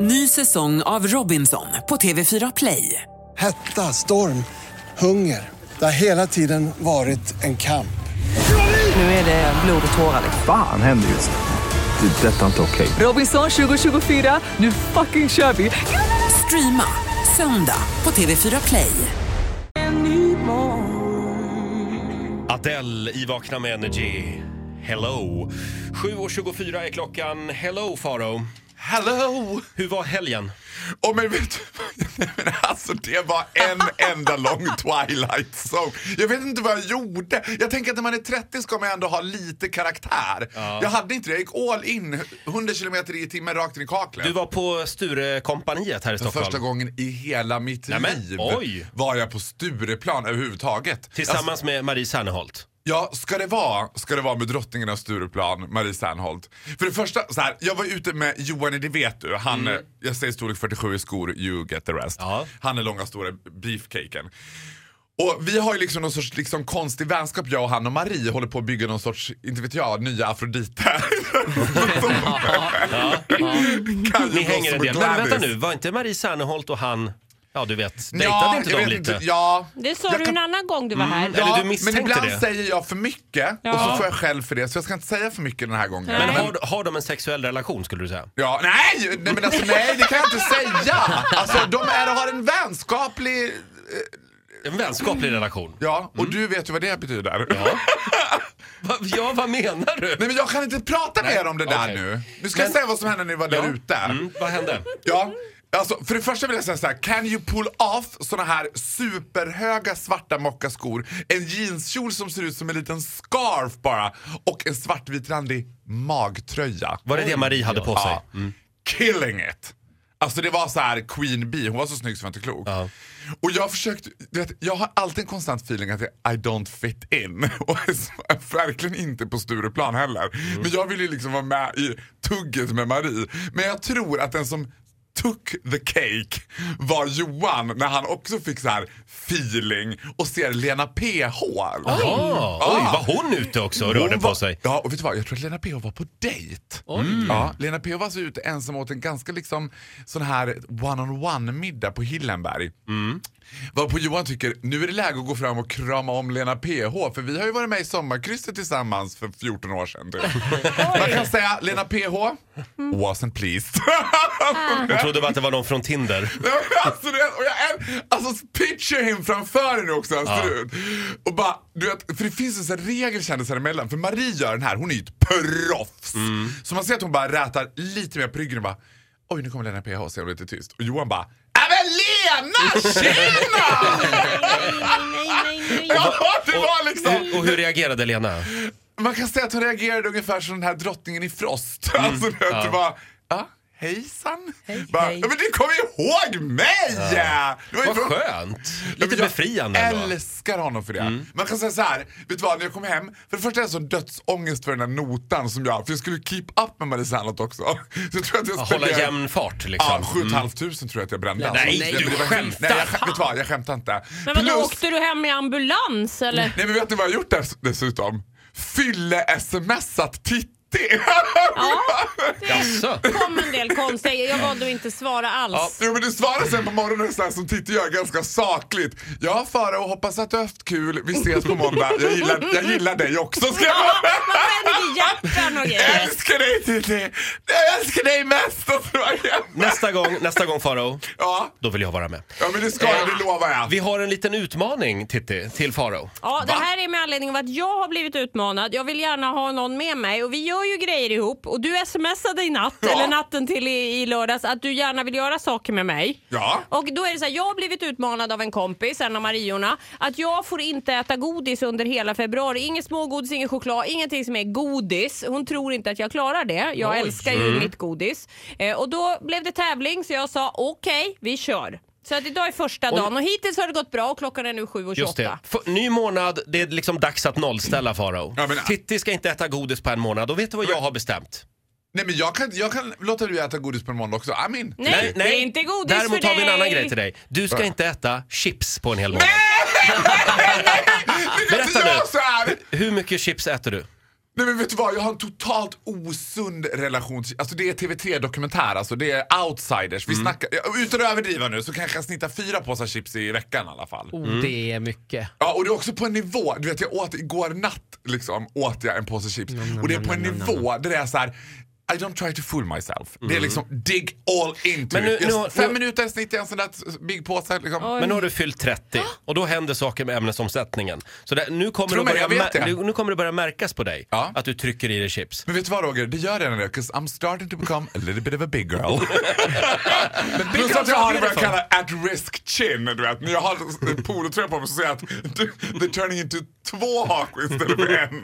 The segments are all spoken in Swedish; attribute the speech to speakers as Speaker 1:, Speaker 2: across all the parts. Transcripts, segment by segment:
Speaker 1: Ny säsong av Robinson på TV4 Play.
Speaker 2: Hetta, storm, hunger. Det har hela tiden varit en kamp.
Speaker 1: Nu är det blod och tårar.
Speaker 3: Fan händer just nu. Det. är Detta är inte okej.
Speaker 1: Robinson 2024, nu fucking kör vi! Streama söndag på TV4 Play.
Speaker 4: Adele i Vakna med Energy. Hello. 7.24 är klockan. Hello, Faro.
Speaker 5: Hello!
Speaker 4: Hur var helgen?
Speaker 5: Och men vet du, nej, men alltså det var en enda lång Twilight Zone. Jag vet inte vad jag gjorde. Jag tänker att när man är 30 ska man ändå ha lite karaktär. Jag hade inte det. Jag gick all in, 100 kilometer i timmen rakt in i kaklet.
Speaker 4: Du var på Sturekompaniet här i
Speaker 5: För
Speaker 4: Stockholm.
Speaker 5: Första gången i hela mitt
Speaker 4: Nej, men,
Speaker 5: liv
Speaker 4: oj.
Speaker 5: var jag på Stureplan överhuvudtaget.
Speaker 4: Tillsammans
Speaker 5: Alltså,
Speaker 4: med Marie Serneholt.
Speaker 5: ja, ska det vara, ska det vara med drottningen av Stureplan, Marie Serneholt. För det första, så här, jag var ute med Johan i Det vet du. Han, eh, jag säger storlek 47 i skor, you get the rest.
Speaker 4: Mm. Ja.
Speaker 5: Han är långa stora beefcaken. Och vi har ju liksom någon sorts liksom konstig vänskap jag och han och Marie håller på att bygga någon sorts, inte vet jag, nya Afrodite. Kan ju
Speaker 4: Ni
Speaker 5: vara
Speaker 4: hänger en
Speaker 5: som
Speaker 4: del. Men
Speaker 5: Gladys.
Speaker 4: vänta nu, var inte Marie Serneholt och han... Ja, du vet. Dejtade
Speaker 5: Ja,
Speaker 4: inte
Speaker 5: jag
Speaker 4: de
Speaker 5: vet
Speaker 4: lite?
Speaker 5: ja.
Speaker 6: Det sa
Speaker 5: Jag
Speaker 6: du
Speaker 5: kan- Mm,
Speaker 6: en annan gång du var här.
Speaker 4: Eller du
Speaker 5: Ja, men
Speaker 4: misstänkte
Speaker 5: ibland
Speaker 4: det.
Speaker 5: säger jag för mycket
Speaker 6: Ja.
Speaker 5: och så får jag skäll för det så jag ska inte säga för mycket den här gången.
Speaker 4: Men
Speaker 6: Nej.
Speaker 4: har, har de en sexuell relation skulle du säga?
Speaker 5: Ja, nej, nej, men alltså, nej, det kan jag inte säga. Alltså, de är, har en vänskaplig... eh,
Speaker 4: En vänskaplig relation?
Speaker 5: Ja, och
Speaker 4: Mm.
Speaker 5: du vet ju vad det betyder.
Speaker 4: Va, ja, vad menar du?
Speaker 5: Nej men jag kan inte prata mer om det där
Speaker 4: okej.
Speaker 5: nu. Nu ska
Speaker 4: Men-
Speaker 5: jag säga vad som hände när ni var där ute.
Speaker 4: Mm, vad hände?
Speaker 5: Ja, alltså för det första vill jag säga så här. Can you pull off såna här superhöga svarta mockaskor, en jeanskjol som ser ut som en liten scarf bara och en svartvit randig magtröja.
Speaker 4: Var det det Marie hade på sig?
Speaker 5: Ja. Mm. Killing it! Alltså det var så här Queen Bee, hon var så snygg som jag inte är klok. Och jag försökte, du vet, jag har alltid en konstant feeling att jag, I don't fit in. Och så- verkligen inte på Stureplan heller.
Speaker 4: Mm.
Speaker 5: Men jag ville ju liksom vara med i tugget med Marie. Men jag tror att den som took the cake var Johan när han också fick så här feeling och ser Lena PH.
Speaker 4: Jaha, Ah, oj, var hon ute också och rörde
Speaker 5: Ah. Hon
Speaker 4: på
Speaker 5: var-
Speaker 4: sig?
Speaker 5: Ja, och vet du vad? Jag tror att Lena PH var på dejt. Mm. Ja, Lena PH var så ute ensam och åt en ganska liksom sån här one-on-one middag på Hillenberg.
Speaker 4: Mm.
Speaker 5: Varpå Johan tycker, nu är det läge att gå fram och krama om Lena PH för vi har ju varit med i Sommarkrysset tillsammans för 14 år sedan. Typ. Man kan säga Lena PH, wasn't pleased.
Speaker 4: Hon trodde bara att det var någon från Tinder.
Speaker 5: Nej, men alltså, du vet, och jag är, alltså picture him framför er nu också hur han ser ut. Och bara, du vet, för det finns en sån här regel kändisar emellan. För Marie gör den här, hon är ju ett proffs.
Speaker 4: Mm.
Speaker 5: Så man ser att hon bara rätar lite mer på ryggen och bara Oj nu kommer Lena PH och så är hon lite tyst. Och Johan bara "Ja, men Lena, tjena!
Speaker 6: Nej, nej, nej, nej.
Speaker 5: ja, det var liksom...
Speaker 4: Och, och hur reagerade Lena?
Speaker 5: Man kan säga att hon reagerade ungefär som den här drottningen i Frost.
Speaker 4: Mm.
Speaker 5: Alltså du vet, det var, ja, hejsan. bara,
Speaker 6: hej.
Speaker 5: Ja, men du kommer ihåg mig! Det var ju
Speaker 4: Vad
Speaker 5: från-
Speaker 4: skönt!
Speaker 5: Ja,
Speaker 4: Lite
Speaker 5: men jag
Speaker 4: befriande ändå. Mm.
Speaker 5: älskar honom för det. Man kan säga så här, vet du vad, när jag kom hem, för det första är jag så dödsångest för den här notan som jag, för jag skulle keep up med Marie Serneholt också. Så jag tror att jag
Speaker 4: Ja, Hålla
Speaker 5: spenderade-
Speaker 4: jämn fart
Speaker 5: Ja,
Speaker 4: liksom.
Speaker 5: 7 500 tror jag att jag brände.
Speaker 4: Nej,
Speaker 5: alltså.
Speaker 4: nej,
Speaker 5: Ja,
Speaker 4: du
Speaker 5: men det var-
Speaker 4: skämtar.
Speaker 5: Nej, jag, skä- vet du vad, jag skämtar inte.
Speaker 6: Men vadå, åkte du hem i ambulans eller?
Speaker 5: Nej men vet ni vad jag har gjort dess- dessutom? Fylle-smsat Titti!
Speaker 4: Jaså?
Speaker 6: kom en del konstiga, jag valde att inte svara alls.
Speaker 5: Jo men du svarar sen på morgonen så här som Titti gör ganska sakligt. Ja Farao, hoppas att du har haft kul. Vi ses på måndag. Jag gillar, jag gillar dig också ska jag
Speaker 6: Ja,
Speaker 5: bara-
Speaker 6: man bränner i hjärtan och
Speaker 5: Jag
Speaker 6: grejer.
Speaker 5: älskar dig Titti! Jag älskar dig mest! Och så var jag hemma.
Speaker 4: Nästa gång, nästa gång Faro,
Speaker 5: Ja,
Speaker 4: då vill jag vara med.
Speaker 5: ja men det ska jag, det lovar jag.
Speaker 4: Vi har en liten utmaning Titti, till Faro.
Speaker 6: Ja, det här är med anledning av att jag har blivit utmanad. Jag vill gärna ha någon med mig och vi gör ju grejer ihop. Och du smsade i natt,
Speaker 5: Ja.
Speaker 6: eller natten till i, i lördags, att du gärna vill göra saker med mig.
Speaker 5: Ja.
Speaker 6: Och då är det så här, jag har blivit utmanad av en kompis, en av Mariorna, att jag får inte äta godis under hela februari. Inget smågodis, ingen choklad, ingenting som är godis. Hon tror inte att jag klarar det. Jag
Speaker 4: Oj. Mm.
Speaker 6: älskar ju mitt godis. Eh, och då blev det tävling så jag sa okej, vi kör. Så att idag är första dagen och hittills har det gått bra och klockan är nu 7.28.
Speaker 4: Just det. F- Ny månad, det är liksom dags att nollställa Faro.
Speaker 5: Ja, men-
Speaker 4: Titti ska inte äta godis på en månad och vet du vad jag har bestämt?
Speaker 5: Nej men jag kan, jag kan låta dig äta godis på en måndag också. I'm in.
Speaker 6: Nej, det är inte godis
Speaker 4: Däremot
Speaker 6: för
Speaker 4: har vi en
Speaker 6: dig.
Speaker 4: annan grej till dig. Du ska
Speaker 5: Va?
Speaker 4: inte äta chips på en hel månad.
Speaker 5: Du kan inte
Speaker 4: Berätta
Speaker 5: göra
Speaker 4: nu.
Speaker 5: så här!
Speaker 4: Hur mycket chips äter du?
Speaker 5: Nej men vet du vad, jag har en totalt osund relation till, alltså det är TV3-dokumentär, alltså det är outsiders.
Speaker 4: Mm.
Speaker 5: Vi snackar, ja, utan att överdriva nu så kanske jag snittar fyra påsar chips i veckan i alla fall.
Speaker 7: Oh,
Speaker 4: Mm.
Speaker 7: Det är mycket.
Speaker 5: Ja och det är också på en nivå, du vet jag åt igår natt liksom, åt jag en påse chips och det är på en nivå där det är så här. I don't try to fool myself. Det är liksom dig all into
Speaker 4: Mm. Men nu-
Speaker 5: it. Just
Speaker 4: nu-
Speaker 5: fem
Speaker 4: nu-
Speaker 5: minuter snittar jag en sån där t- big påse. Liksom.
Speaker 4: Men nu har du fyllt 30
Speaker 6: Ah!
Speaker 4: och då händer saker med ämnesomsättningen. Så det, nu, kommer
Speaker 5: Tror
Speaker 4: det
Speaker 5: mig,
Speaker 4: börja
Speaker 5: jag vet
Speaker 4: mär-
Speaker 5: det.
Speaker 4: nu- nu kommer det börja märkas på dig
Speaker 5: Ja.
Speaker 4: att du trycker i dig chips.
Speaker 5: Men vet du vad Roger, det gör redan det. 'Cause I'm starting to become a little bit of a big girl. Men Plus att jag har vad jag
Speaker 4: beautiful.
Speaker 5: kallar at risk chin. Du vet. När jag har en polotröja på mig så ser jag att they're turning into två hakor istället för en.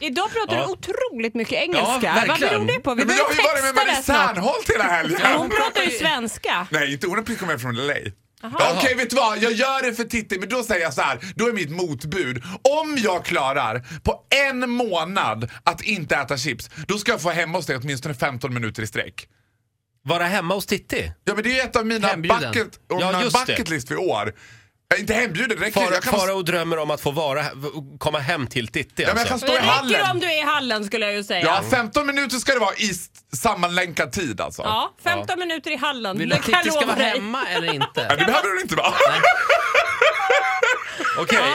Speaker 6: Idag pratar
Speaker 4: Ja.
Speaker 6: du otroligt mycket engelska. Vad
Speaker 4: verkligen.
Speaker 6: beror det på? Vi
Speaker 5: Men jag har
Speaker 6: behöver
Speaker 5: ju varit med
Speaker 6: texta
Speaker 5: Marie
Speaker 6: det snart.
Speaker 5: Serneholt hela helgen.
Speaker 6: Hon pratar ju svenska.
Speaker 5: Nej, inte hon har kommer från LA. Okej, vet du vad? Jag gör det för Titti, men då säger jag så här. Då är mitt motbud. Om jag klarar på en månad att inte äta chips, då ska jag få hemma hos dig åtminstone 15 minuter i sträck.
Speaker 4: Vara hemma hos Titti.
Speaker 5: Ja, men det är ett av mina
Speaker 7: Hembjuden.
Speaker 5: bucket, om
Speaker 4: Ja,
Speaker 5: mina
Speaker 4: just det.
Speaker 5: bucket list för i år. Jag är inte hembjuden, det räcker.
Speaker 4: Fara,
Speaker 5: jag kan,
Speaker 4: Farao drömmer om att få vara, komma hem till Titti.
Speaker 5: ja, men jag kan
Speaker 4: alltså.
Speaker 5: stå i
Speaker 6: Det räcker om
Speaker 5: hallen.
Speaker 6: du är i hallen skulle jag ju säga.
Speaker 5: Ja, 15 minuter ska det vara i s- sammanlänkad tid alltså.
Speaker 6: Ja, 15 minuter i hallen.
Speaker 7: Vill du
Speaker 6: det
Speaker 7: att
Speaker 6: kan jag
Speaker 7: Titti ska
Speaker 6: lova
Speaker 7: vara
Speaker 6: dig.
Speaker 7: hemma eller
Speaker 5: Nej,
Speaker 7: inte?
Speaker 5: det behöver du inte vara.
Speaker 4: Okej, eh,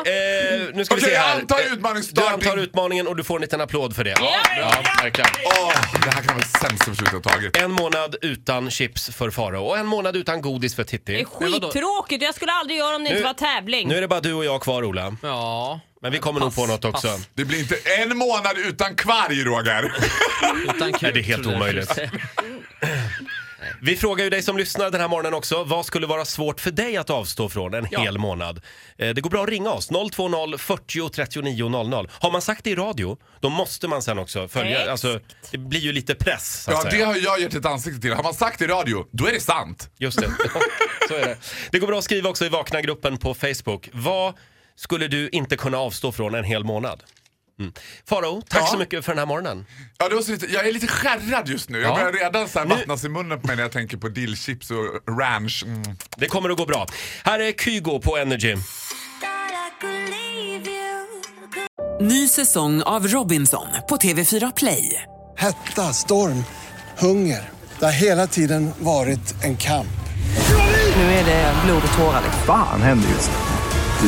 Speaker 4: nu ska vi
Speaker 5: Okej,
Speaker 4: se
Speaker 5: jag
Speaker 4: här.
Speaker 5: antar
Speaker 4: Eh,
Speaker 5: utmaningsdag.
Speaker 4: Du antar utmaningen och du får en liten applåd för det.
Speaker 6: Ja,
Speaker 4: ja, verkligen.
Speaker 5: Åh, det här kan vara det sämsta beslutet jag har tagit.
Speaker 4: En månad utan chips för Farao och en månad utan godis för
Speaker 6: Det är
Speaker 4: Titti.
Speaker 6: skittråkigt. Jag skulle aldrig göra om det inte
Speaker 4: Nu-
Speaker 6: var tävling.
Speaker 4: Nu är det bara du och jag kvar Ola.
Speaker 7: Ja,
Speaker 4: Men vi kommer nog på något också.
Speaker 7: pass.
Speaker 5: Det blir inte en månad utan kvarg, Roger.
Speaker 7: utan kul.
Speaker 4: Nej, det är helt
Speaker 7: trodde jag
Speaker 4: omöjligt.
Speaker 7: skulle säga.
Speaker 4: Vi frågar ju dig som lyssnar den här morgonen också. Vad skulle vara svårt för dig att avstå från en hel månad? Eh, Det går bra att ringa oss. 020 40 39 00. Har man sagt det i radio, då måste man sen också följa.
Speaker 6: Exakt.
Speaker 4: Alltså, det blir ju lite press så att
Speaker 5: Ja, det
Speaker 4: säga.
Speaker 5: har jag gett ett ansikte till. Har man sagt det i radio, då är det sant.
Speaker 4: Just det. så är det. Det går bra att skriva också i Vakna-gruppen på Facebook. Vad skulle du inte kunna avstå från en hel månad? Mm. Faro, tack
Speaker 5: Ja.
Speaker 4: så mycket för den här morgonen.
Speaker 5: Ja, det var så lite, jag är lite skärrad just nu. Jag
Speaker 4: Ja.
Speaker 5: börjar redan så här
Speaker 4: Nu-
Speaker 5: vattnas i munnen på mig när jag tänker på dillchips och ranch. Mm.
Speaker 4: Det kommer att gå bra. Här är Kygo på Energy.
Speaker 1: Ny säsong av Robinson på TV4 Play.
Speaker 2: Hetta, storm, hunger. Det har hela tiden varit en kamp.
Speaker 1: Nu är det blod och tårar.
Speaker 3: Fan händer just det.